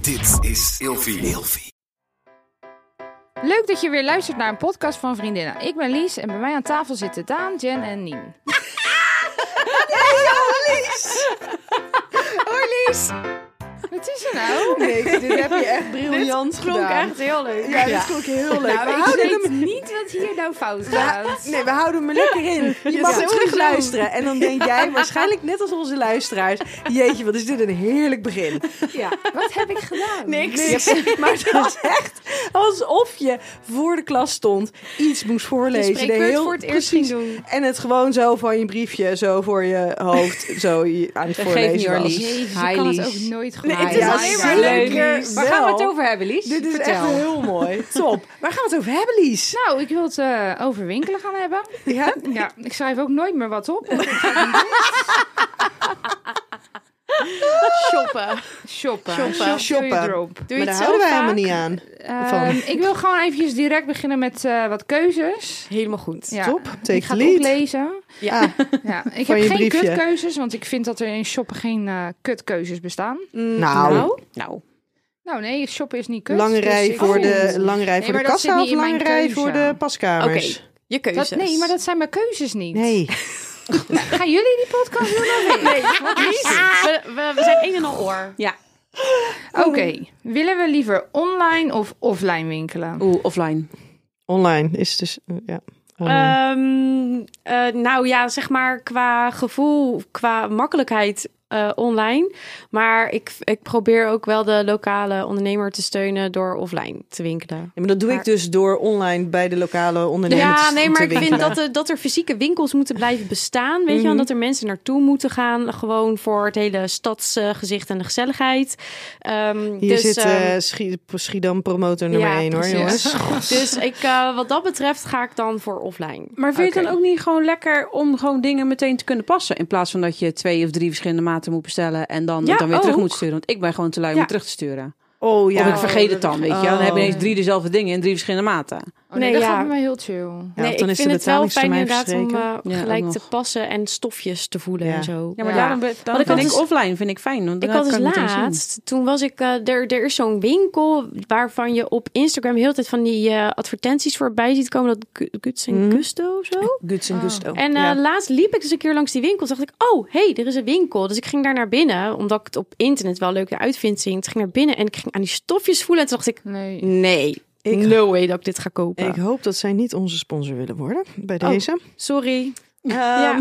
Dit is Ilfie. Leuk dat je weer luistert naar een podcast van Vriendinnen. Ik ben Lies en bij mij aan tafel zitten Daan, Jen en Nien. Wat is er nou? Niks, dit heb je echt briljant klonk gedaan. echt heel leuk. Ja, dit klonk heel leuk. Nou, we, ik houden weet hem, niet wat hier nou fout gaat. nee, we houden hem er lekker in. Je mag sowieso. het terug luisteren. En dan denk jij, waarschijnlijk net als onze luisteraars... Jeetje, wat is dit een heerlijk begin. Ja. Wat heb ik gedaan? Niks. Maar het was echt alsof je voor de klas stond, iets moest voorlezen. De spreekbeurt voor het eerst ging doen. En het gewoon zo van je briefje, zo voor je hoofd, zo je- aan het voorlezen was. Jezus, ik kan het ook nooit goed. Nee, het is Ah, Ja, alleen maar zeker leuk. Lies. wel. Waar gaan we het over hebben, Lies? Dit is Vertel. echt heel mooi. Top. Waar gaan we het over hebben, Lies? Nou, ik wil het eh, over winkelen gaan hebben. Ja? Ja, ik schrijf ook nooit meer wat op. shoppen. Shoppen. Shoppen. Shop Shoppen. to your drop. Doe je maar het daar zelf houden wij vaak? helemaal niet aan. Van. Ehm, ik wil gewoon eventjes direct beginnen met eh, wat keuzes. Helemaal goed. Ja, Top, take ik ga the het lead. oplezen. Ja. Ah, Ja, ik Van heb geen je briefje. kutkeuzes, want ik vind dat er in shoppen geen eh, kutkeuzes bestaan. nou, Mm, Nou. Nou nee, shoppen is niet kut. lange dus rij ik voor vind- de, lange rij voor maar de dat zit kassa niet of in mijn lange rij keuze. voor de Oké, paskamers? je keuzes. Dat, nee, maar dat zijn mijn keuzes niet. Nee. Gaan jullie die podcast doen of niet? Nee, wat Lies? We, we, we zijn een en al oor. Ja. Oké, willen we liever online of offline winkelen? Oeh, offline. Online is dus, eh, ja. online. Ehm, eh, nou ja, zeg maar qua gevoel, qua makkelijkheid eh, online. Maar ik, ik probeer ook wel de lokale ondernemer te steunen door offline te winkelen. Ja, maar dat doe ik maar- dus door online bij de lokale ondernemers ja, nee, maar te ik vind winkelen. dat, er- dat er fysieke winkels moeten blijven bestaan. Weet je, en dat er mensen naartoe moeten gaan. Gewoon voor het hele stadsgezicht en de gezelligheid. Ehm, Hier dus, zit eh ehm, Schied- Schiedam promotor nummer ja, 1 hoor, precies. jongens. dus ik, eh, wat dat betreft ga ik dan voor offline. Maar vind je het Oké. dan ook niet gewoon lekker om gewoon dingen meteen te kunnen passen? In plaats van dat je twee of drie verschillende maten moet bestellen en dan, Ja, het dan weer ook. terug moet sturen. Want ik ben gewoon te lui om Ja. het terug te sturen. Oh ja. Of ik vergeet het dan, weet je. wel. Dan hebben Oh. ineens drie dezelfde dingen in drie verschillende maten. Oh, nee, Nee, dat ja. gaat bij mij heel chill. Ja, nee, want dan ik is de vind het wel fijn betalingstermijn inderdaad om verstreken. eh, Ja, gelijk ook te nog. passen en stofjes te voelen Ja. en zo. Ja, maar Ja. daarom, be- daarom ik vind had ik dus- offline vind ik fijn. Want Ik dan had dus kan het meteen zien. laatst, toen was ik, eh, er, er is zo'n winkel waarvan je op Instagram heel de tijd van die eh, advertenties voorbij ziet komen, dat Gu- Guts en Gusto of zo. Oh. Guts en Gusto. En eh, laatst liep ik dus een keer langs die winkel. Toen dacht ik, oh, hé, hey, er is een winkel. Dus ik ging daar naar binnen, omdat ik het op internet wel leuk uitvind zien. Toen ging ik naar binnen en ik ging aan die stofjes voelen. En toen dacht ik, Nee. nee, no way dat ik dit ga kopen. Ik hoop dat zij niet onze sponsor willen worden bij Oh. deze. Sorry. Ehm,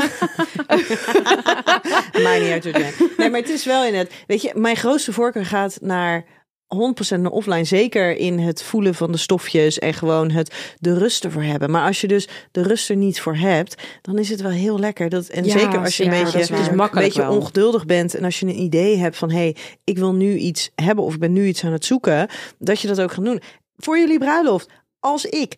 Maakt niet uit. hoor, Jen. Nee, maar het is wel in het. Weet je, mijn grootste voorkeur gaat naar 100% naar offline. Zeker in het voelen van de stofjes en gewoon het de rust ervoor hebben. Maar als je dus de rust er niet voor hebt, dan is het wel heel lekker. Dat, en Ja, zeker als je een zeker, beetje, dat is waar. een Makkelijk beetje wel. ongeduldig bent en als je een idee hebt van hé, hey, ik wil nu iets hebben of ik ben nu iets aan het zoeken, dat je dat ook gaat doen. Voor jullie bruiloft, als ik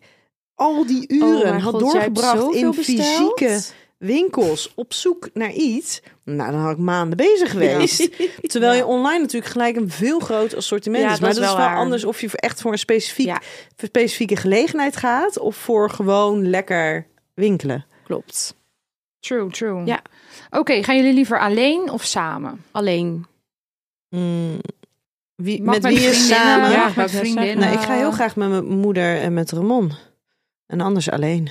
al die uren Oh mijn had God, jij hebt doorgebracht zoveel in besteld? fysieke winkels op zoek naar iets, nou dan had ik maanden bezig geweest. Terwijl je online natuurlijk gelijk een veel groot assortiment Ja, is. dat Maar is dat is wel wel waar. anders of je echt voor een specifiek, Ja. voor specifieke gelegenheid gaat of voor gewoon lekker winkelen. Klopt. True, true. Ja. Oké, gaan jullie liever alleen of samen? Alleen. Mm, Wie, Mag eh, met wie is vriendinnen, samen? mag Ja, met dat is- vriendinnen. Nou, ik ga heel graag met mijn moeder en met Ramon. En anders alleen.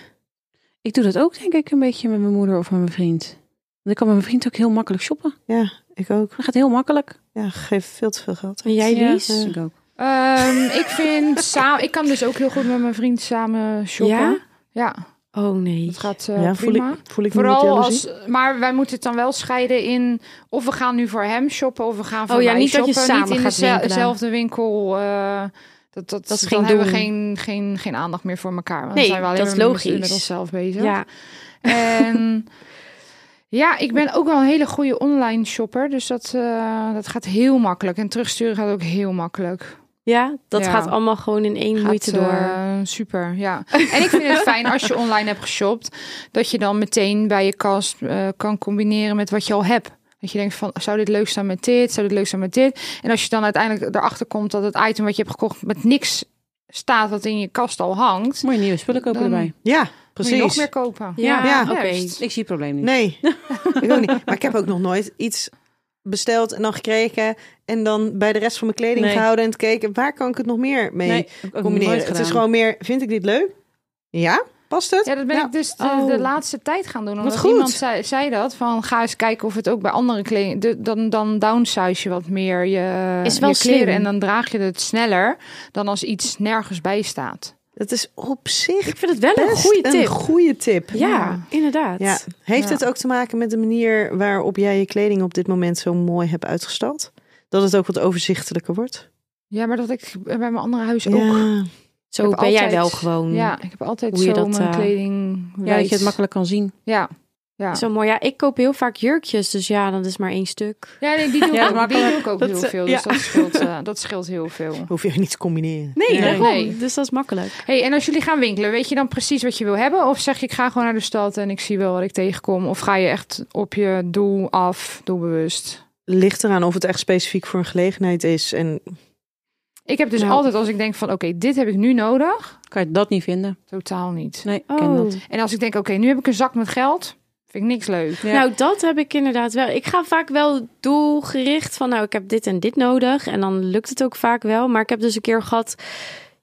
Ik doe dat ook denk ik een beetje met mijn moeder of met mijn vriend. Want ik kan met mijn vriend ook heel makkelijk shoppen. Ja, ik ook. Dat gaat heel makkelijk. Ja, geef veel te veel geld. En jij, Ja, eh, Lies? ik ook. Ehm, ik vind samen. Ik kan dus ook heel goed met mijn vriend samen shoppen. Ja? Ja, Oh nee. dat gaat eh, Ja, voel ik, prima. voel ik me niet Vooral jaloezie? als, maar wij moeten het dan wel scheiden in of we gaan nu voor hem shoppen of we gaan voor Oh ja, mij niet dat je shoppen. samen niet in gaat winkelen. dezelfde winkel. eh, dat, dat, Dat is dan geen hebben we doen. geen, geen, geen aandacht meer voor elkaar. Want dan Nee, zijn we alleen dat is maar met- logisch. met onszelf bezig. Ja. En ja, ik ben ook wel een hele goede online shopper. Dus dat, eh, dat gaat heel makkelijk. En terugsturen gaat ook heel makkelijk. Ja, dat Ja. gaat allemaal gewoon in één moeite Gaat, door. eh, super, ja. En ik vind het fijn als je online hebt geshopt... dat je dan meteen bij je kast eh, kan combineren met wat je al hebt. Dat je denkt van, zou dit leuk zijn met dit? Zou dit leuk zijn met dit? En als je dan uiteindelijk erachter komt dat het item wat je hebt gekocht... met niks staat wat in je kast al hangt... Mooie nieuwe spullen kopen Dan- erbij. Ja, moet je nog precies. meer kopen. ja, ja, oké. Ik zie het probleem niet. Nee, ik ook niet. Maar ik heb ook nog nooit iets besteld en dan gekregen. En dan bij de rest van mijn kleding Nee. gehouden en te kijken waar kan ik het nog meer mee Nee, heb ik ook nooit combineren. Het is gedaan. gewoon meer, vind ik dit leuk? Ja, past het? Ja, dat ben Ja. ik dus de, Oh. de laatste tijd gaan doen. Omdat goed. iemand zei, zei dat, van ga eens kijken of het ook bij andere kleding... de- dan, dan downsize je wat meer je, Is wel je kleren slim. en dan draag je het sneller... dan als iets nergens bij staat. Dat is op zich Ik vind het wel een best goede een tip. goede tip. ja, inderdaad. Ja. Heeft Ja. het ook te maken met de manier waarop jij je kleding op dit moment zo mooi hebt uitgestald? Dat het ook wat overzichtelijker wordt? Dus Ja, maar dat ik bij mijn andere huis ook... Zo Ik ben heb jij altijd- wel gewoon. Ja, ik heb altijd Hoe zo je dat, mijn eh, kleding Ja, dat wijd. je het makkelijk kan zien. Ja, ja. Zo mooi. Ja, ik koop heel vaak jurkjes, dus ja, dat is maar één stuk. ja nee, die doe ik Ja, ook, die makkelijk. doe ik ook Dat, heel eh, veel. Dus ja. dat, scheelt, eh, dat scheelt heel veel. Hoef je niet te combineren. Nee, Nee. daarom. Nee. Dus dat is makkelijk. Hey, en als jullie gaan winkelen, weet je dan precies wat je wil hebben? Of zeg je, ik ga gewoon naar de stad en ik zie wel wat ik tegenkom? Of ga je echt op je doel af, doelbewust? Ligt eraan of het echt specifiek voor een gelegenheid is. En Ik heb dus Nou. altijd als ik denk van, oké, dit heb ik nu nodig. Kan je dat niet vinden? Totaal niet. Nee, ik Oh. ken dat. En als ik denk, oké, nu heb ik een zak met geld. Vind ik niks leuk. Ja. Nou, dat heb ik inderdaad wel. Ik ga vaak wel doelgericht van, nou, ik heb dit en dit nodig. En dan lukt het ook vaak wel. Maar ik heb dus een keer gehad,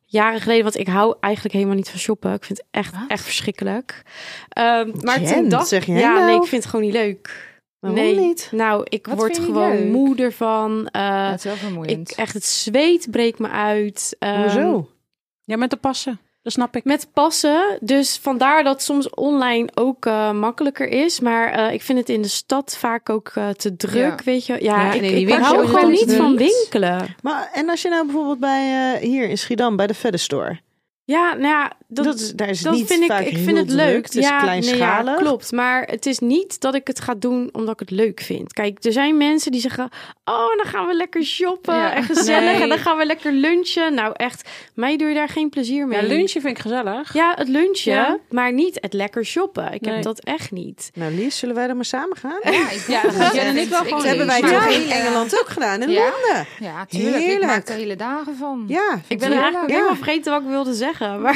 jaren geleden, want ik hou eigenlijk helemaal niet van shoppen. Ik vind het echt, Wat? echt verschrikkelijk. Ehm, maar Jen, toen dacht zeg jij ja, nou? nee, ik vind het gewoon niet leuk. waarom Nee. niet? Nou, ik Wat word vind je gewoon leuk? moe ervan. Eh, dat is wel ik, vermoeiend. echt, het zweet breekt me uit. Ehm, Hoezo? Ja, met de passen. Dat snap ik. Met passen. Dus vandaar dat soms online ook eh, makkelijker is. Maar eh, ik vind het in de stad vaak ook eh, te druk, Ja. weet je. Ja, Ja, ik, en in die ik winkel hou is gewoon het niet druk. van winkelen. Maar, en als je nou bijvoorbeeld bij, eh, hier in Schiedam, bij de Fedde Store. Ja, nou ja, dat, Dat, is- daar is het dat niet vind ik, vaak ik heel vind het druk. leuk. Het is ja, kleinschalig. Nee, ja, klopt. Maar het is niet dat ik het ga doen omdat ik het leuk vind. Kijk, er zijn mensen die zeggen, oh, dan gaan we lekker shoppen Ja. en gezellig. Nee. En dan gaan we lekker lunchen. Nou echt, mij doe je daar geen plezier mee. Ja, lunchje vind ik gezellig. Ja, het lunchen, Ja. maar niet het lekker shoppen. Ik Nee. heb dat echt niet. Nou Lies, zullen wij dan maar samen gaan? Ja, ik ja, dat Jen en ik wel gewoon Dat hebben wij maar toch ja. in Engeland ook gedaan, in Ja. Londen. Ja, tuurlijk. Ik maak Heerlijk. er hele dagen van. Ja, Ik ben eigenlijk ook Ja. helemaal vergeten wat ik wilde zeggen. Maar,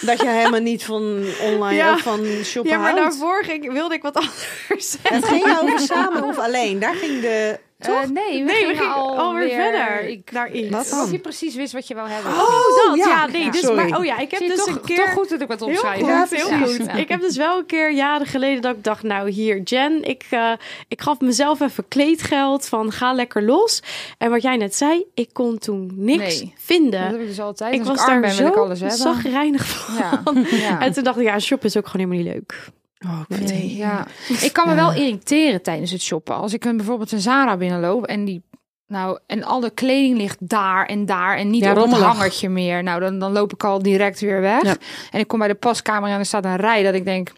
dat je helemaal niet van online Ja. of van shoppen ja, maar houdt. daarvoor ging, wilde ik wat anders zeggen. Het ging over samen of alleen. Daar ging de... Eh, nee, we Nee, we gingen gingen al alweer weer- verder. Ik, Daarin. Wat dan? als je precies wist wat je wou hebben. Oh, dat. Ja, ja. nee. Ja. Dus, Sorry. maar, oh ja, ik heb Zie je, dus toch, een keer... toch goed dat ik wat Heel opschrijf. goed, Ja, heel precies. goed. Ja. Ik heb dus wel een keer jaren geleden dat ik dacht, nou hier, Jen, ik, eh, ik gaf mezelf even kleedgeld van ga lekker los. En wat jij net zei, ik kon toen niks Nee. vinden. Dat heb ik dus altijd. ik Als was ik arm daar ben, wil ik zo alles hebben. zagrijnig van. Ja. Ja. En toen dacht ik, ja, shoppen is ook gewoon helemaal niet leuk. Oh, ik Nee, ja. Ik kan me wel irriteren tijdens het shoppen. Als ik een, bijvoorbeeld een Zara binnenloop en die... Nou, en alle kleding ligt daar en daar en niet Ja, op rommelig. het hangertje meer. Nou, dan, dan loop ik al direct weer weg. Ja. En ik kom bij de paskamer en er staat een rij dat ik denk...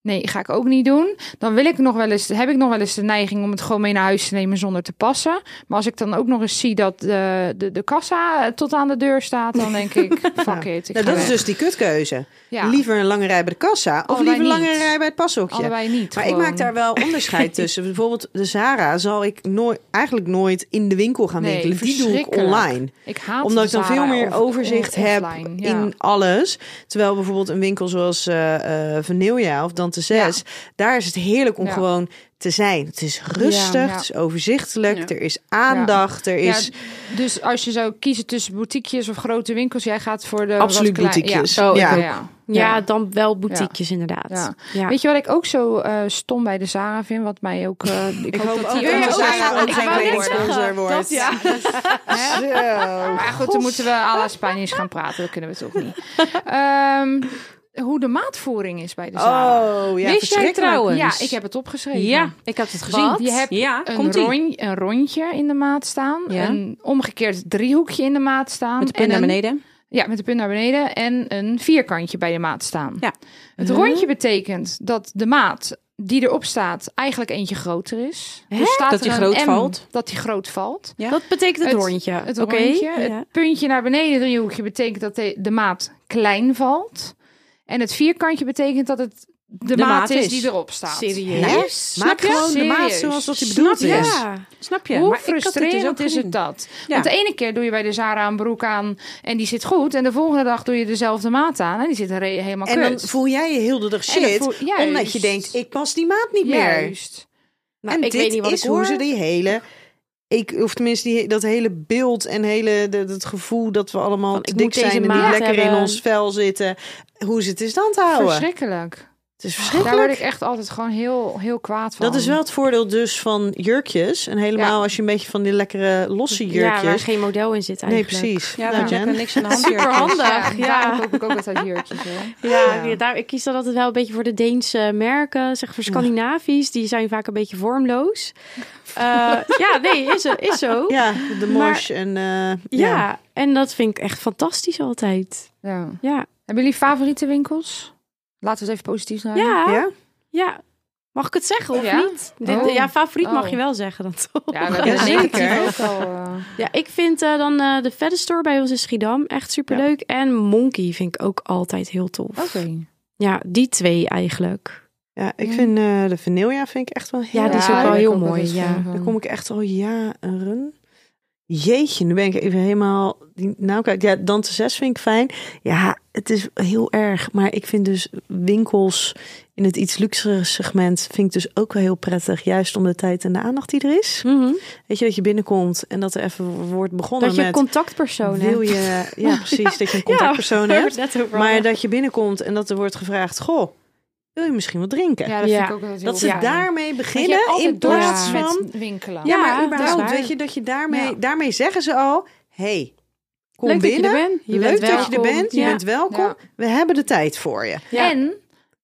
Nee, ga ik ook niet doen. Dan wil ik nog wel eens, heb ik nog wel eens de neiging om het gewoon mee naar huis te nemen zonder te passen. Maar als ik dan ook nog eens zie dat eh, de, de, de kassa eh, tot aan de deur staat, dan denk ik, fuck it. Ik Nou, ga dat is weg. dus die kutkeuze. ja, Liever een lange rij bij de kassa of Allebei liever een lange niet. rij bij het pashokje. allebei niet. Maar ik gewoon. maak daar wel onderscheid tussen. Bijvoorbeeld de Zara zal ik nooit, eigenlijk nooit in de winkel gaan Nee, winkelen. Die doe ik verschrikkelijk. online. Ik haat Omdat de ik dan Zara veel meer of- overzicht of- heb offline, ja. in alles. Terwijl bijvoorbeeld een winkel zoals eh eh Vanilla of Dante 6, daar is het heerlijk om Ja. gewoon te zijn. Het is rustig, Ja. het is overzichtelijk, Ja. er is aandacht, er is Ja, dus als je zou kiezen tussen boutiquejes of grote winkels, jij gaat voor de absoluut wat klein- boutiquejes. Oh, ik Ja. ja. Ja. Ja. Ja. Ja, dan wel boutiquejes inderdaad. Ja. Ja. Weet je wat ik ook zo eh, stom bij de Zara vind? Wat mij ook. eh, ik, hoop dat ook die dat ook oh, de zo- Zara ook Ik zijn wou net kleding zeggen. sponsor wordt. Dat, ja. Hè? Zo. Maar goed, dan moeten we à la Spanisch gaan praten. Dat kunnen we toch niet. Ehm, hoe de maatvoering is bij de Zara. Oh, ja, Wist jij verschrikkelijk. trouwens? Ja, ik heb het opgeschreven. Ja, ik heb het gezien. Want je hebt ja, Een, komt-ie. rond, een rondje in de maat staan. Ja. Een omgekeerd driehoekje in de maat staan. Met de pin en naar een- beneden. Ja, met de punt naar beneden en een vierkantje bij de maat staan. Ja. Het rondje betekent dat de maat die erop staat eigenlijk eentje groter is. Dus staat Dat die er een groot M, valt? Dat die groot valt. dat betekent het, Het- rondje. Het Oké? rondje, Ja. het puntje naar beneden driehoekje betekent dat de, de maat klein valt. En het vierkantje betekent dat het de, maat, maat is is. die erop staat. Hè? Serieus? Maak je? gewoon de maat Serieus. zoals dat hij bedoeld Snap je? is. Ja. Nou, Snap je? Hoe Maar ik had dit dus ook frustrerend is gezien. het dat? Ja. Want de ene keer doe je bij de Zara een broek aan en die zit goed. En de volgende dag doe je dezelfde maat aan en die zit er he- helemaal En dan kut. voel jij je heel de dag En dan shit. voel- Omdat juist. je denkt, ik pas die maat niet meer. Juist. Nou, en ik dit weet niet wat is ik hoe hoor. ze die hele... Ik, of tenminste, die, dat hele beeld en hele, de- dat gevoel dat we allemaal Van, te ik dik moet deze zijn en niet maat lekker in hebben. ons vel zitten. Hoe ze het in stand houden. Verschrikkelijk. Het is Daar word verschrikkelijk. ik echt altijd gewoon heel, heel kwaad van. Dat is wel het voordeel dus van jurkjes. En helemaal Ja. als je een beetje van die lekkere losse Ja, waar jurkjes. geen model in zit nee, eigenlijk. precies. Ja, Nou, want je Jen. hebt er niks aan de hand. Ja, Superhandig, ja. daarom koop ik ook altijd jurkjes. Hoor. Ja, ja, daar, ik kies dan altijd wel een beetje voor de Deense merken. Zeg voor Scandinavisch, die zijn vaak een beetje vormloos. Eh, ja, nee, is, zo- is zo. Ja. Ja, de Maar- mosh en eh, ja. en dat vind ik echt fantastisch altijd. Ja. Ja, Hebben jullie favoriete winkels? Laten we het even positief zijn. ja, ja. Ja? Mag ik het zeggen of Ja? niet? Dit, Oh. Ja, favoriet Oh. mag je wel zeggen dan toch? Ja, we hebben Ja, het negatief zeker. ook al. eh, Ja, ik vind eh, dan eh, de Fedde Store bij ons in Schiedam echt superleuk. En Monkey vind ik ook altijd heel tof. Oké. Ja, die twee eigenlijk. Ja, ik Ja. vind eh, de Vanilla vind ik echt wel heel Ja, die is ook leuk. wel daar heel kom ik mooi, altijd ja. fan van. Daar kom ik echt al jaren. Jeetje, nu ben ik even helemaal die naam kwijt. Ja, Dante 6 vind ik fijn. Ja, het is heel erg. Maar ik vind dus winkels in het iets luxere segment... vind ik dus ook wel heel prettig. Juist om de tijd en de aandacht die er is. Mhm. Weet je, dat je binnenkomt en dat er even wordt begonnen Dat je met... contactpersoon wil hebt. je, ja, precies, dat je een contactpersoon Ja, hebt. net overal. Maar dat je binnenkomt en dat er wordt gevraagd... Goh, wil je misschien wat drinken? Ja, dat Ja. vind ik ook altijd heel dat ze fijn. daarmee Want je hebt beginnen in altijd plaats dorst van... met winkelen. Ja, Ja, maar dat is überhaupt, waar. weet je, dat je daarmee, Ja. daarmee zeggen ze al, hey, kom Leuk binnen. dat je er bent. Je Leuk bent dat je er welkom. bent, je Ja. bent welkom. Ja. We hebben de tijd voor je. Ja. En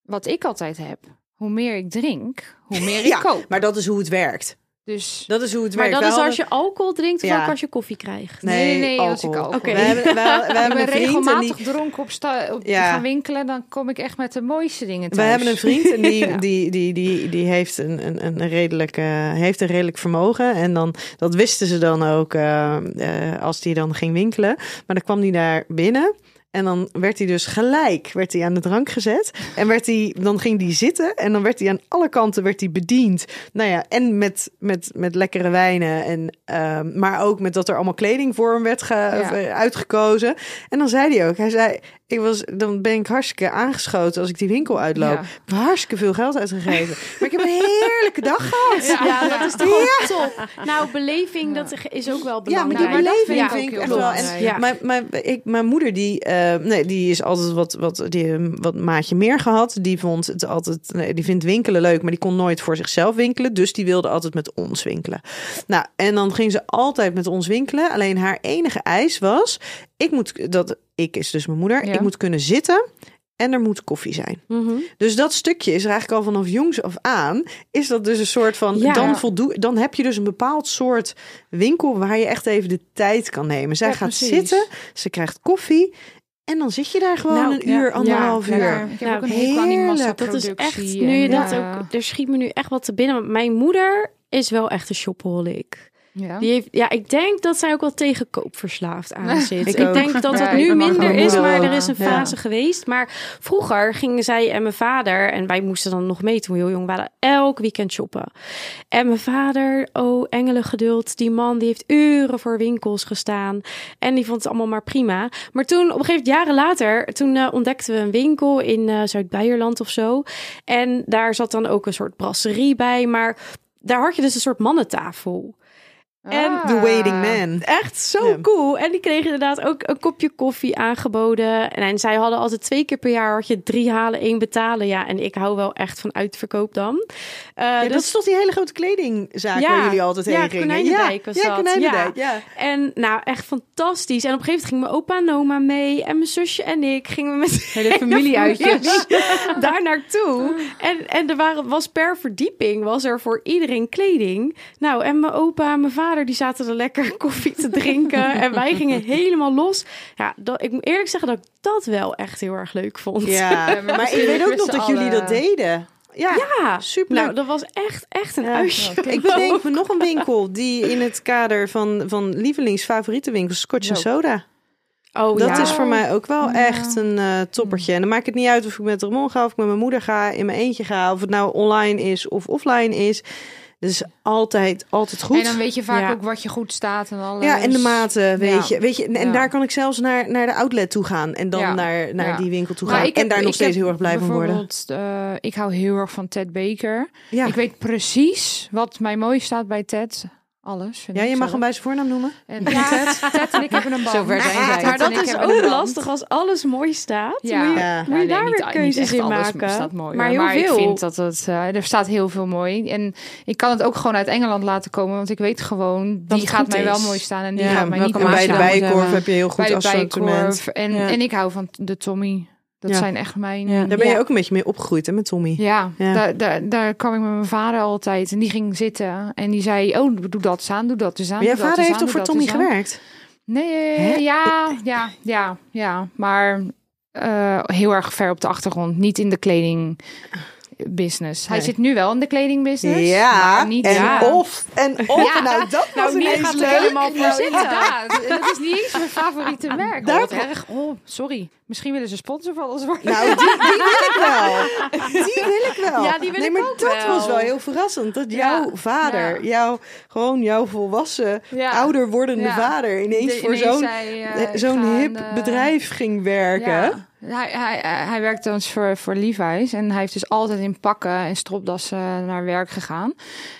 wat ik altijd heb, hoe meer ik drink, hoe meer Ja, ik koop. Maar dat is hoe het werkt. Dus Dat is hoe het Maar werkt. dat Wij is als hadden- je alcohol drinkt of Ja. ook als je koffie krijgt. Nee, nee, als ik alcohol. Oké. We hebben, we, we ik hebben ben een vriend en die... regelmatig dronken op, sta, op Ja. gaan winkelen, dan kom ik echt met de mooiste dingen We thuis. hebben een vriend en die, Ja. die, die, die, die heeft, een, een, een redelijk, eh, heeft een redelijk vermogen. En dan, dat wisten ze dan ook eh, eh, als die dan ging winkelen. Maar dan kwam die daar binnen. En dan werd hij dus gelijk werd hij aan de drank gezet. En werd hij, dan ging hij zitten. En dan werd hij aan alle kanten werd hij bediend. Nou ja, en met, met, met lekkere wijnen. En, ehm, maar ook met dat er allemaal kleding voor hem werd ge- eh, uitgekozen. En dan zei hij ook. Hij zei, ik was, dan ben ik hartstikke aangeschoten als ik die winkel uitloop. Ja. Ik heb hartstikke veel geld uitgegeven. Maar ik heb een heerlijke dag gehad. Ja, dat is toch Ja. ook top. Nou, beleving, dat is ook wel Ja, maar die belangrijk. Nou, dat vind ik beleving vind, ook ik heel echt wel. En belangrijk. Ja. mijn, mijn, ik, mijn moeder, die, eh, nee, die is altijd wat, wat, die, eh, wat maatje meer gehad. Die, vond het altijd, nee, die vindt winkelen leuk, maar die kon nooit voor zichzelf winkelen. Dus die wilde altijd met ons winkelen. Nou, en dan ging ze altijd met ons winkelen. Alleen haar enige eis was: ik moet, dat ik is dus mijn moeder, Ja. ik moet kunnen zitten en er moet koffie zijn. Mhm. Dus dat stukje is er eigenlijk al vanaf jongs af aan. Is dat dus een soort van. Ja. Dan, voldoe, dan heb je dus een bepaald soort winkel waar je echt even de tijd kan nemen. Zij Ja, gaat precies. zitten, ze krijgt koffie. En dan zit je daar gewoon Nou, een ja. uur, anderhalf Ja, uur. Ik heb Nou, ook een hekel aan die heerlijk. Dat is massaproductie. echt, nu je en, dat eh, ook, er schiet me nu echt wat te binnen. Want mijn moeder is wel echt een shopaholic. ja. Die heeft, ja, ik denk dat zij ook wel tegen koopverslaafd aan zit. Ik ik ook. denk dat Ja, dat ik nu ben minder gewoon is, moeder. maar er is een Ja. fase geweest. Maar vroeger gingen zij en mijn vader, en wij moesten dan nog mee toen we heel jong waren, elk weekend shoppen. En mijn vader, oh engelen geduld, die man die heeft uren voor winkels gestaan. En die vond het allemaal maar prima. Maar toen, op een gegeven moment, jaren later, toen eh, ontdekten we een winkel in eh Zuid-Beierland of zo. En daar zat dan ook een soort brasserie bij, maar... Daar had je dus een soort mannentafel. Ah. en The waiting man. Echt zo Ja. cool. En die kregen inderdaad ook een kopje koffie aangeboden. En, en zij hadden altijd twee keer per jaar had je drie halen, één betalen. Ja, en ik hou wel echt van uitverkoop dan. Eh, Ja, dus- dat is toch die hele grote kledingzaak Ja. waar jullie altijd heen Ja, gingen. Konijnendijk was ja, dat. Konijnendijk, ja. En nou, echt fantastisch. En op een gegeven moment gingen mijn opa en oma mee. En mijn zusje en ik gingen we met Hele familieuitjes. daar naartoe. Ah. En, en er waren, was per verdieping was er voor iedereen kleding. Nou, en mijn opa en mijn vader die zaten er lekker koffie te drinken. en wij gingen helemaal los. Ja, dat, ik moet eerlijk zeggen dat ik dat wel echt heel erg leuk vond. Ja. Ja, maar Maar ik misschien weet ook met nog z'n dat jullie allen. dat deden. Ja, Ja, super. Nou, dat was echt, echt een Ja. uitje. Ik bedenk me nog een winkel die in het kader van, van lievelingsfavoriete winkels, Scotch en Zo. Soda. Oh, Dat ja. is voor mij ook wel Ja. echt een eh, toppertje. En dan maakt het niet uit of ik met Ramon ga, of ik met mijn moeder ga, in mijn eentje ga, of het nou online is of offline is. Dat is altijd, altijd goed. En dan weet je vaak Ja. ook wat je goed staat en alles. Ja, en de maten, weet Ja. je. Weet je en en Ja. daar kan ik zelfs naar, naar de outlet toe gaan. En dan Ja. naar, naar Ja. die winkel toe Maar gaan. ik heb- en daar nog ik steeds heb heel erg blij van worden. bijvoorbeeld, eh, ik hou heel erg van Ted Baker. Ja. Ik weet precies wat mij mooi staat bij Ted. Alles. vind ja, ik je mag zelf. hem bij zijn voornaam noemen. En Ted, Ted en ik hebben een band. Zover zijn wij. Maar Ted en dat ik is hebben een ook band. lastig als alles mooi staat. Ja. Moet je, Ja. moet je Ja, daar nee, niet- weer niet keuzes echt in alles maken. staat mooi, maar hoor. heel veel. ik vind dat het... eh, er staat heel veel mooi. En ik kan het ook gewoon uit Engeland laten komen. Want ik weet gewoon, die het gaat goed mij wel is. mooi staan. En die Ja, gaat mij niet welke mooi bij maat de je staan. bij- bijenkorf hebben. heb je heel goed Bij de assortiment. bijenkorf. En, Ja. en ik hou van de Tommy. Dat Ja. zijn echt mijn... Ja. Daar ben je Ja. ook een beetje mee opgegroeid, hè, met Tommy. Ja, Ja. Daar, daar, daar kwam ik met mijn vader altijd. En die ging zitten. En die zei, oh, doe dat eens aan, doe dat eens aan. Maar jouw doe dat vader eens heeft aan, toch doe voor dat Tommy eens aan. gewerkt? Hè? Nee, ja, ja, ja, ja. Maar eh, heel erg ver op de achtergrond. Niet in de kledingbusiness. Hij Nee. zit nu wel in de kledingbusiness. maar niet Nou, en ja. of. En of. Ja. Nou, dat was nu ineens gaat het leuk. helemaal voor zitten. Inderdaad. En Dat is niet eens mijn favoriete merk. Ah, Daar- Daar erg. Oh, sorry. Misschien willen ze sponsor van ons worden. Nou, die, die wil ik wel. Die wil ik wel. Ja, die wil nee, ik maar ook dat wel. was wel heel verrassend. Dat Ja. jouw vader, jouw, gewoon jouw volwassen, Ja. ouder wordende Ja. vader... ineens De- voor ineens zo'n zei, eh, eh, ik zo'n ga hip een, eh, bedrijf ging werken. Ja. Hij, hij, hij werkt dan voor, voor Levi's. En hij heeft dus altijd in pakken en stropdassen naar werk gegaan.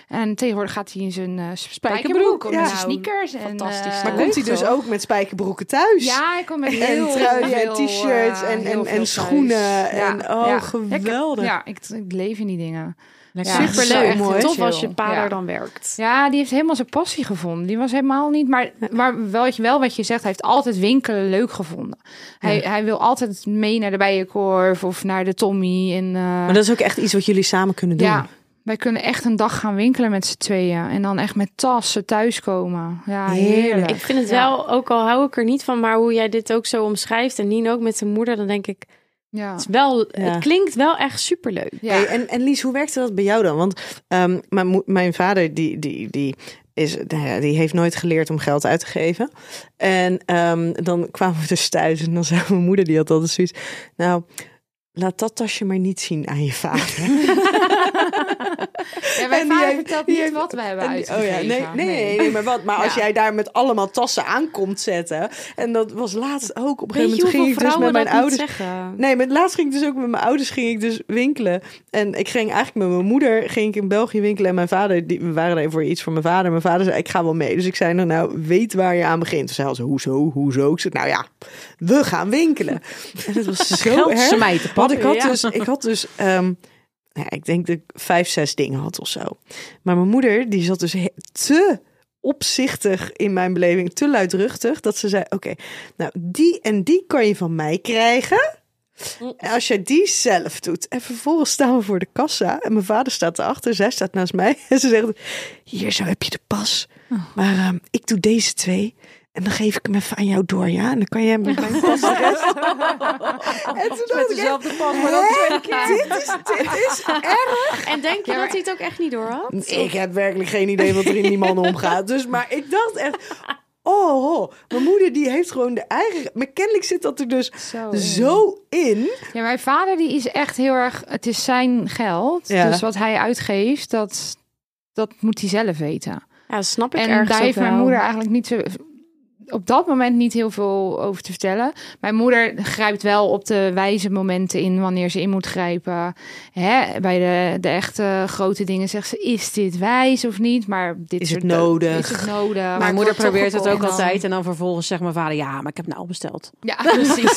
En tegenwoordig gaat hij in zijn eh, spijkerbroek. Of ja. in zijn sneakers. En, Fantastisch. eh, Maar leuk komt hij dus toch? ook met spijkerbroeken thuis? Ja, hij komt met heel en truien en veel, t-shirts eh, en, heel en, veel en schoenen. thuis. Ja, En, oh, ja. geweldig. Ja, ik, ja, ik, ik leef in die dingen. Lekker. Ja. Superleuk. Superleuk. Zo mooi. Tof als je Ja. pa daar dan werkt. Ja, die heeft helemaal zijn passie gevonden. Die was helemaal niet, maar, maar wel, wel wat je zegt, hij heeft altijd winkelen leuk gevonden. Hij, hij wil altijd mee naar de Bijenkorf of naar de Tommy. En, eh, Maar dat is ook echt iets wat jullie samen kunnen doen. Ja, wij kunnen echt een dag gaan winkelen met z'n tweeën. En dan echt met tassen thuiskomen. Ja, Heerlijk. heerlijk. Ik vind het Ja. wel, ook al hou ik er niet van, maar hoe jij dit ook zo omschrijft en Nien ook met zijn moeder, dan denk ik, Ja. het, is wel, Ja. het klinkt wel echt superleuk. Ja. Hey, en, en Lies, hoe werkte dat bij jou dan? Want ehm, mijn, moe- mijn vader, die, die, die, is, nou ja, die heeft nooit geleerd om geld uit te geven. En ehm, dan kwamen we dus thuis en dan zei mijn moeder, die had altijd zoiets. Nou, laat dat tasje maar niet zien aan je vader. Ja, mijn en die vader heeft- vertelt die niet heeft- wat we hebben En die- uitgegeven. oh ja, nee, nee, nee, nee, maar wat? Maar als Ja. jij daar met allemaal tassen aan komt zetten. En dat was laatst ook. Op een Weet gegeven je moment ging hoeveel ik dus vrouwen met mijn dat niet ouders. zeggen? Nou, Nee, maar laatst ging ik dus ook met mijn ouders ging ik dus winkelen. En ik ging eigenlijk met mijn moeder ging ik in België winkelen. En mijn vader, die, we waren er even voor iets voor mijn vader. Mijn vader zei, ik ga wel mee. Dus ik zei, nou, nou weet waar je aan begint. Toen zei hij, zo, hoezo, hoezo? Ik zei, nou ja, we gaan winkelen. En het was zo Geld erg. smijten, pap. Want ik had Ja. dus, ik had dus ehm, nou ja, ik denk dat ik vijf, zes dingen had of zo. Maar mijn moeder, die zat dus he- te opzichtig in mijn beleving, te luidruchtig, dat ze zei: Oké, nou die en die kan je van mij krijgen. En als jij die zelf doet. En vervolgens staan we voor de kassa. En mijn vader staat erachter. Zij staat naast mij. En ze zegt: Hier zo heb je de pas. Maar ehm, ik doe deze twee. En dan geef ik hem even aan jou door. Ja, en dan kan jij hem met mijn pas. de rest." en toen dacht ik echt, pas, "Hè? Dit is, dit is En denk je Ja, maar- dat hij het ook echt niet door had? ik heb werkelijk geen idee wat er in die man omgaat. Dus, maar ik dacht echt... Oh, oh, mijn moeder die heeft gewoon de eigen... Maar kennelijk zit dat er dus Zo. zo in. Ja, mijn vader die is echt heel erg... Het is zijn geld. Ja. Dus wat hij uitgeeft, dat, dat moet hij zelf weten. Ja, snap ik en ergens daar ook heeft mijn wel. moeder eigenlijk niet zo, op dat moment niet heel veel over te vertellen. Mijn moeder grijpt wel op de wijze momenten in wanneer ze in moet grijpen. Hè, bij de, de echte grote dingen zegt ze: is dit wijs of niet? Maar dit Is soort- het nodig? Is het nodig? Maar het Mijn moeder wordt toch probeert het ook gekocht. altijd. En dan vervolgens zegt mijn vader, ja, maar ik heb nou al besteld. Ja, precies.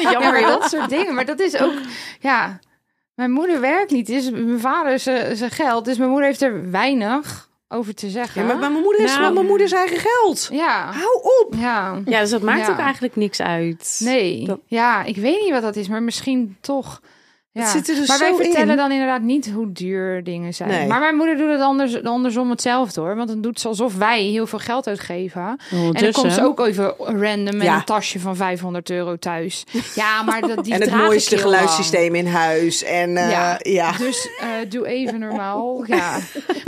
ja, maar joh. dat soort dingen. Maar dat is ook, ja. Mijn moeder werkt niet. Is mijn vader zijn zijn geld. Dus mijn moeder heeft er weinig over te zeggen. Ja, maar bij mijn moeder is Nou. gewoon mijn moeders eigen geld. ja. Hou op. ja. Ja, dus dat maakt Ja. ook eigenlijk niks uit. Nee, Dat- ja, ik weet niet wat dat is, maar misschien toch. Ja. Het zit er dus maar wij zo vertellen in. dan inderdaad niet hoe duur dingen zijn. Nee. Maar mijn moeder doet het anders, andersom hetzelfde hoor. Want dan doet ze alsof wij heel veel geld uitgeven. en dan komt ze ook even random met Ja. een tasje van 500 euro thuis. Ja, maar dat, die en het draag ik mooiste heel lang. geluidssysteem in huis. En eh, ja. Ja. Dus eh, doe even normaal. Ja.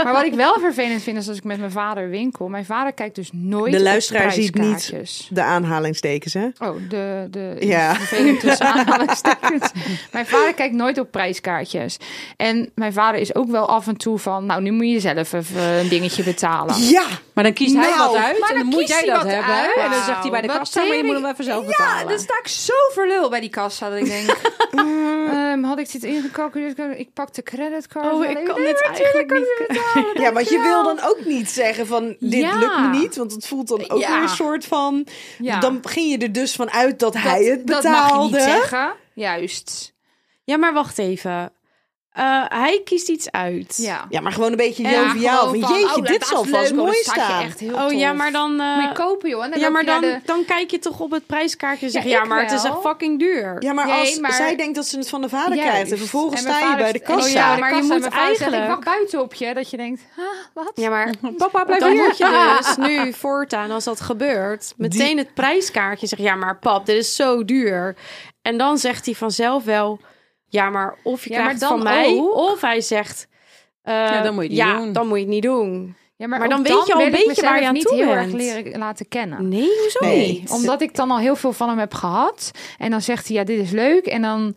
Maar wat ik wel vervelend vind is als ik met mijn vader winkel. Mijn vader kijkt dus nooit De op luisteraar ziet niet. prijskaartjes. de aanhalingstekens, hè? Oh, de, de Ja. vervelend tussen aanhalingstekens. Mijn vader kijkt nooit op prijskaartjes. En mijn vader is ook wel af en toe van, nou, nu moet je zelf even een dingetje betalen. Ja, Maar dan kiest hij Nou, wat uit maar en dan dan moet kiest jij hij dat wat hebben. uit. En dan zegt hij bij de Wauw, kassa, wat maar je moet tering. hem even zelf Ja, betalen. dan sta ik zo voor lul bij die kassa dat ik denk, ehm, had ik dit ingecalculeerd? Ik pak de creditcard. Oh, wel ik even. kan Nee, dit natuurlijk eigenlijk kan ik niet. dit betalen. ja, want je wil dan ook niet zeggen van dit Ja. lukt me niet, want het voelt dan ook Ja. weer een soort van. Ja. Dan ging je er dus van uit dat, hij het dat mag je betaalde. niet zeggen. Juist. Ja, maar wacht even. Eh, hij kiest iets uit. Ja. ja, maar gewoon een beetje Ja, joviaal. gewoon Van, van, jeetje, oh, dit dat zal is vast leuk, oh, mooi dat staat je staan. echt heel Oh ja, tof. maar dan. eh, Moet je kopen, joh. En dan ja, loop maar je naar dan, de- dan kijk je toch op het prijskaartje en zeg Ja, je, ja, ik maar het is wel. echt fucking duur. Ja, maar Nee, als maar- zij denkt dat ze het van de vader Juist. krijgt en vervolgens En mijn sta je vader- Oh, bij de en ik kassa. sta bij de maar je kassa en moet mijn vader zegt, eigenlijk- ik wacht buiten op je. Dat je denkt, ha, wat? Ja, maar Papa, blijf dan hier. moet je dus nu voortaan, als dat gebeurt, meteen het prijskaartje zeggen. Ja, maar pap, dit is zo duur. En dan zegt hij vanzelf wel, ja, maar of je Ja, maar krijgt het dan van mij, ook. of hij zegt, eh, Ja, dan moet je het niet ja, doen. dan moet je het niet doen. Ja, Maar ook dan weet je al wil een ik beetje mezelf waar je aan niet toe heel erg bent. leren, laten kennen. Nee, hoezo Nee. niet? Omdat ik dan al heel veel van hem heb gehad. En dan zegt hij, ja, dit is leuk. En dan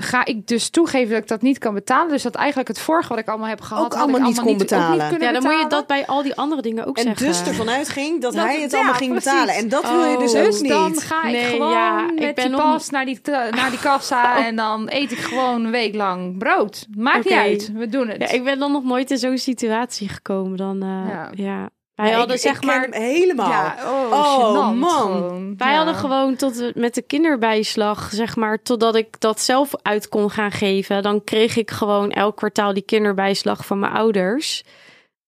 ga ik dus toegeven dat ik dat niet kan betalen. Dus dat eigenlijk het vorige wat ik allemaal heb gehad... Ook had allemaal ik niet allemaal kon niet, ook niet betalen. kunnen Ja, dan moet je betalen. dat bij al die andere dingen ook En zeggen. dus ervan uitging dat, Dat- hij het ja, allemaal ging precies. betalen. En dat wil je dus Oh. ook Dus niet. dan ga ik Nee, gewoon ja, ik met ben die om- Oh. pas naar, die, naar die kassa en dan eet ik gewoon een week lang brood. Maakt Oké. niet uit, we doen het. Ja, ik ben dan nog nooit in zo'n situatie gekomen. Dan, eh, Ja. ja. Wij Nee, hadden ik, zeg ik ken maar... hem helemaal. Ja, oh, Oh, gênant man. gewoon. Wij Ja. hadden gewoon tot we- met de kinderbijslag, zeg maar, totdat ik dat zelf uit kon gaan geven. Dan kreeg ik gewoon elk kwartaal die kinderbijslag van mijn ouders.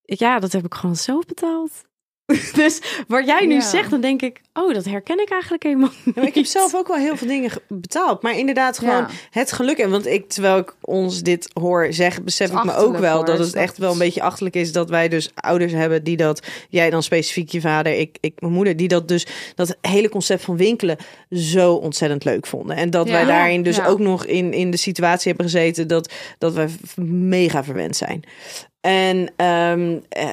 Ja, dat heb ik gewoon zelf betaald. dus wat jij nu Ja. zegt, dan denk ik, oh, dat herken ik eigenlijk helemaal niet. Ja, maar ik heb zelf ook wel heel veel dingen ge- betaald. Maar inderdaad, gewoon Ja. het geluk. En want ik, terwijl ik ons dit hoor zeggen, besef Het is ik me ook achterlijk, wel hoor. dat het Het is echt wel een echt- beetje achterlijk is dat wij dus ouders hebben die dat, jij dan specifiek je vader, ik, ik mijn moeder, die dat dus, dat hele concept van winkelen zo ontzettend leuk vonden. En dat Ja. wij daarin dus Ja. ook nog in, in de situatie hebben gezeten dat, dat wij f- mega verwend zijn. En, ehm, eh,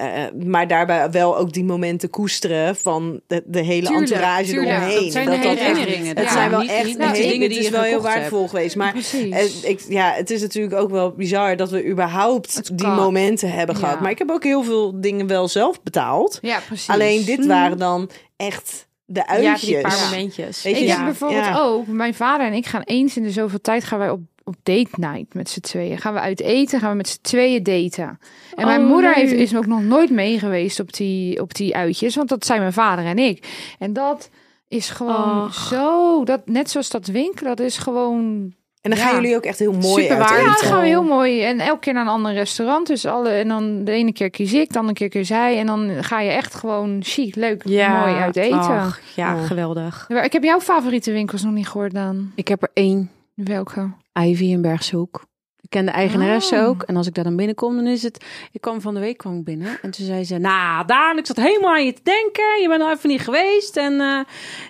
maar daarbij wel ook die momenten koesteren van de, de hele Tuurlijk, entourage tuurlijk. eromheen. Dat zijn de hele echt- herinneringen. Het Ja, zijn wel niet- echt niet de hele- dingen Het die is je wel heel gekocht hebt. waardevol geweest. Maar Precies. eh, ik, ja, het is natuurlijk ook wel bizar dat we überhaupt die kan. momenten hebben Ja. gehad. Maar ik heb ook heel veel dingen wel zelf betaald. ja, precies. Hm. Alleen dit waren dan echt de Ja, uitjes. die paar Ja. momentjes. Weet je, Ik Ja. heb bijvoorbeeld Ja. ook, mijn vader en ik gaan eens in de zoveel tijd gaan wij op, op date night met z'n tweeën. Gaan we uit eten, gaan we met z'n tweeën daten. En mijn Oh, moeder leuk. heeft, is ook nog nooit mee geweest op die, op die uitjes, want dat zijn mijn vader en ik. En dat is gewoon Och. zo, dat, net zoals dat winkelen, dat is gewoon... En dan gaan Ja. jullie ook echt heel mooi Super uit waar. Ja, eten. dat gaan we heel mooi. En elke keer naar een ander restaurant. Dus alle, en dan de ene keer kies ik, de andere keer kies hij. En dan ga je echt gewoon chic, leuk, Ja, mooi uit eten. ach, ja, Oh. geweldig. Maar Ik heb jouw favoriete winkels nog niet gehoord, Daan. Ik heb er één, Welke? Ivy in Bergshoek. Ik ken de eigenaresse Ah. Oh. ook. En als ik daar dan binnenkom, dan is het... Ik kwam van de week kwam ik binnen. En toen zei ze... Nou, Daan, ik zat helemaal aan je te denken. Je bent al even niet geweest. En eh,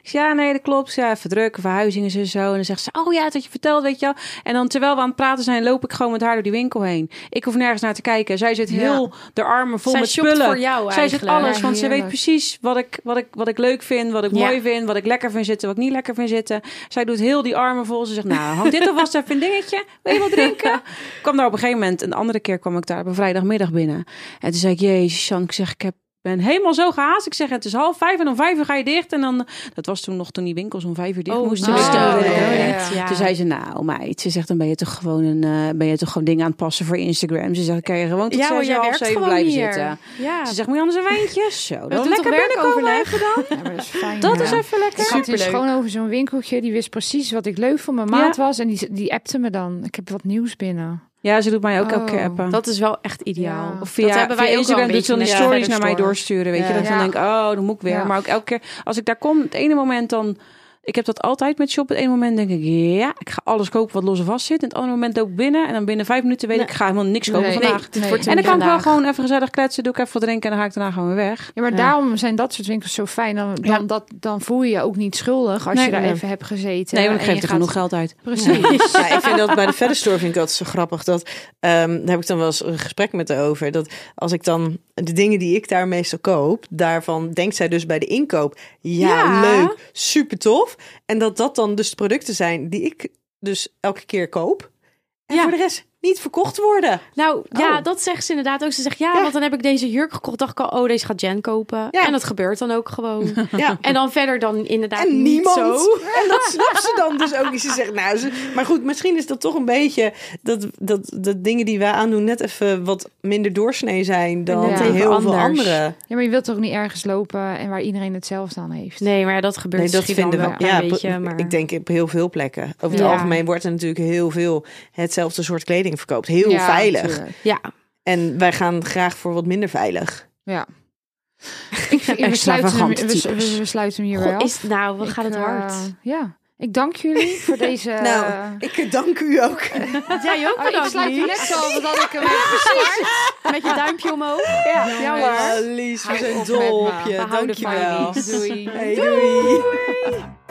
ik zei, ja, nee, dat klopt. Ja, even druk, verhuizingen en zo. En dan zegt ze... Oh ja, dat had je verteld, weet je wel. En dan terwijl we aan het praten zijn, loop ik gewoon met haar door die winkel heen. Ik hoef nergens naar te kijken. Zij zit Ja. heel de armen vol Zij met shopt spullen. voor jou Zij zit eigenlijk. alles, Ja, want ze weet heerlijk. precies wat ik, wat, ik, wat ik leuk vind, wat ik Ja. mooi vind, wat ik lekker vind zitten, wat ik niet lekker vind zitten. Zij doet heel die armen vol. Ze zegt, nou, hang dit alvast even een dingetje. Wil je wat drinken? Ik kwam daar op een gegeven moment, een andere keer kwam ik daar op een vrijdagmiddag binnen. En toen zei ik, jezus Jan, ik zeg, ik heb ben helemaal zo gehaast. Ik zeg, het is half vijf en om vijf uur ga je dicht. En dan, dat was toen nog toen die winkels om vijf uur dicht Oh, moesten. nou, Dus toen- ja, eh, ja, Toen zei ze, nou meid, ze zegt, dan ben je toch gewoon, een, eh, ben je toch gewoon dingen aan het passen voor Instagram. Ze zegt, kan je gewoon tot ja, hoor, zes uur, jij half werkt zeven gewoon blijven hier. zitten. Dus Ja, Ze zegt, moet je anders een wijntje? Zo, dat dan is lekker binnenkomen. werkoverleg. Ja, maar dat is fijn. Dat ja. is even lekker. Ik had dus Superleuk. gewoon over zo'n winkeltje. Die wist precies wat ik leuk voor mijn Ja. maat was. En die, die appte me dan. Ik heb wat nieuws binnen. Ja, ze doet mij ook Oh, elke keer appen. Dat is wel echt ideaal. Ja. of via, dat hebben wij via ook wel Instagram een doet ze dan die beetje met stories de naar mij verder doorsturen. Weet je, Ja. dat ik dan Ja. denk ik, oh, dan moet ik weer. Ja. Maar ook elke keer als ik daar kom, het ene moment dan... Ik heb dat altijd met shoppen. Het ene moment denk ik, ja, ik ga alles kopen wat los en vast zit. En het andere moment loop ik binnen en dan binnen vijf minuten weet ik, ik ga helemaal niks kopen Nee. vandaag. Nee, dit wordt En dan kan ik wel vandaag. gewoon even gezellig kletsen, doe ik even wat drinken en dan ga ik daarna gewoon weer weg. Ja, maar Ja. daarom zijn dat soort winkels zo fijn. Dan, dan, Ja. dat, dan voel je je ook niet schuldig als Nee, je daar nee. even hebt gezeten. Nee, want ik En je geef er gaat- genoeg geld uit. Precies. Ja, ik vind dat bij de verder store vind ik dat zo grappig. Dat, ehm, daar heb ik dan wel eens een gesprek met haar over. Dat als ik dan de dingen die ik daar meestal koop, daarvan denkt zij dus bij de inkoop. Ja, Ja. leuk, super tof. En dat dat dan dus de producten zijn die ik dus elke keer koop. En Ja. voor de rest niet verkocht worden. Nou ja, Oh. dat zegt ze inderdaad ook. Ze zegt ja, Ja. want dan heb ik deze jurk gekocht. Dacht ik al, oh, deze gaat Jen kopen. Ja. En dat gebeurt dan ook gewoon. Ja. en dan verder dan inderdaad En niet niemand. zo. En dat snapt ze dan dus ook. niet. Ze zegt, nou, ze- maar goed, misschien is dat toch een beetje dat, dat, dat dingen die wij aandoen net even wat minder doorsnee zijn dan Ja. heel Even veel anders. anderen. Ja, maar je wilt toch niet ergens lopen en waar iedereen hetzelfde aan heeft? Nee, maar ja, dat gebeurt Nee, dat misschien vinden dan we. wel Ja, een beetje. p- Maar... ik denk op heel veel plekken. Over het Ja. algemeen wordt er natuurlijk heel veel hetzelfde soort kleding verkoopt. Heel Ja, veilig. natuurlijk. Ja, En wij gaan graag voor wat minder veilig. Ja. Ik, we, sluiten hem, Extravagante we, types. we- we sluiten hem hier Goh, wel. is, nou, wat Ik, gaat het eh, hard? ja. Ik dank jullie voor deze... eh, Nou, ik dank u ook. jij ook Oh, ik sluit hem net zo, want had ik hem even gestart. met je duimpje omhoog. Ja, jammer. Ah, Lies, we Hou zijn op dol met me. op We je. houden Dank je wel. Doei. Hey, doei.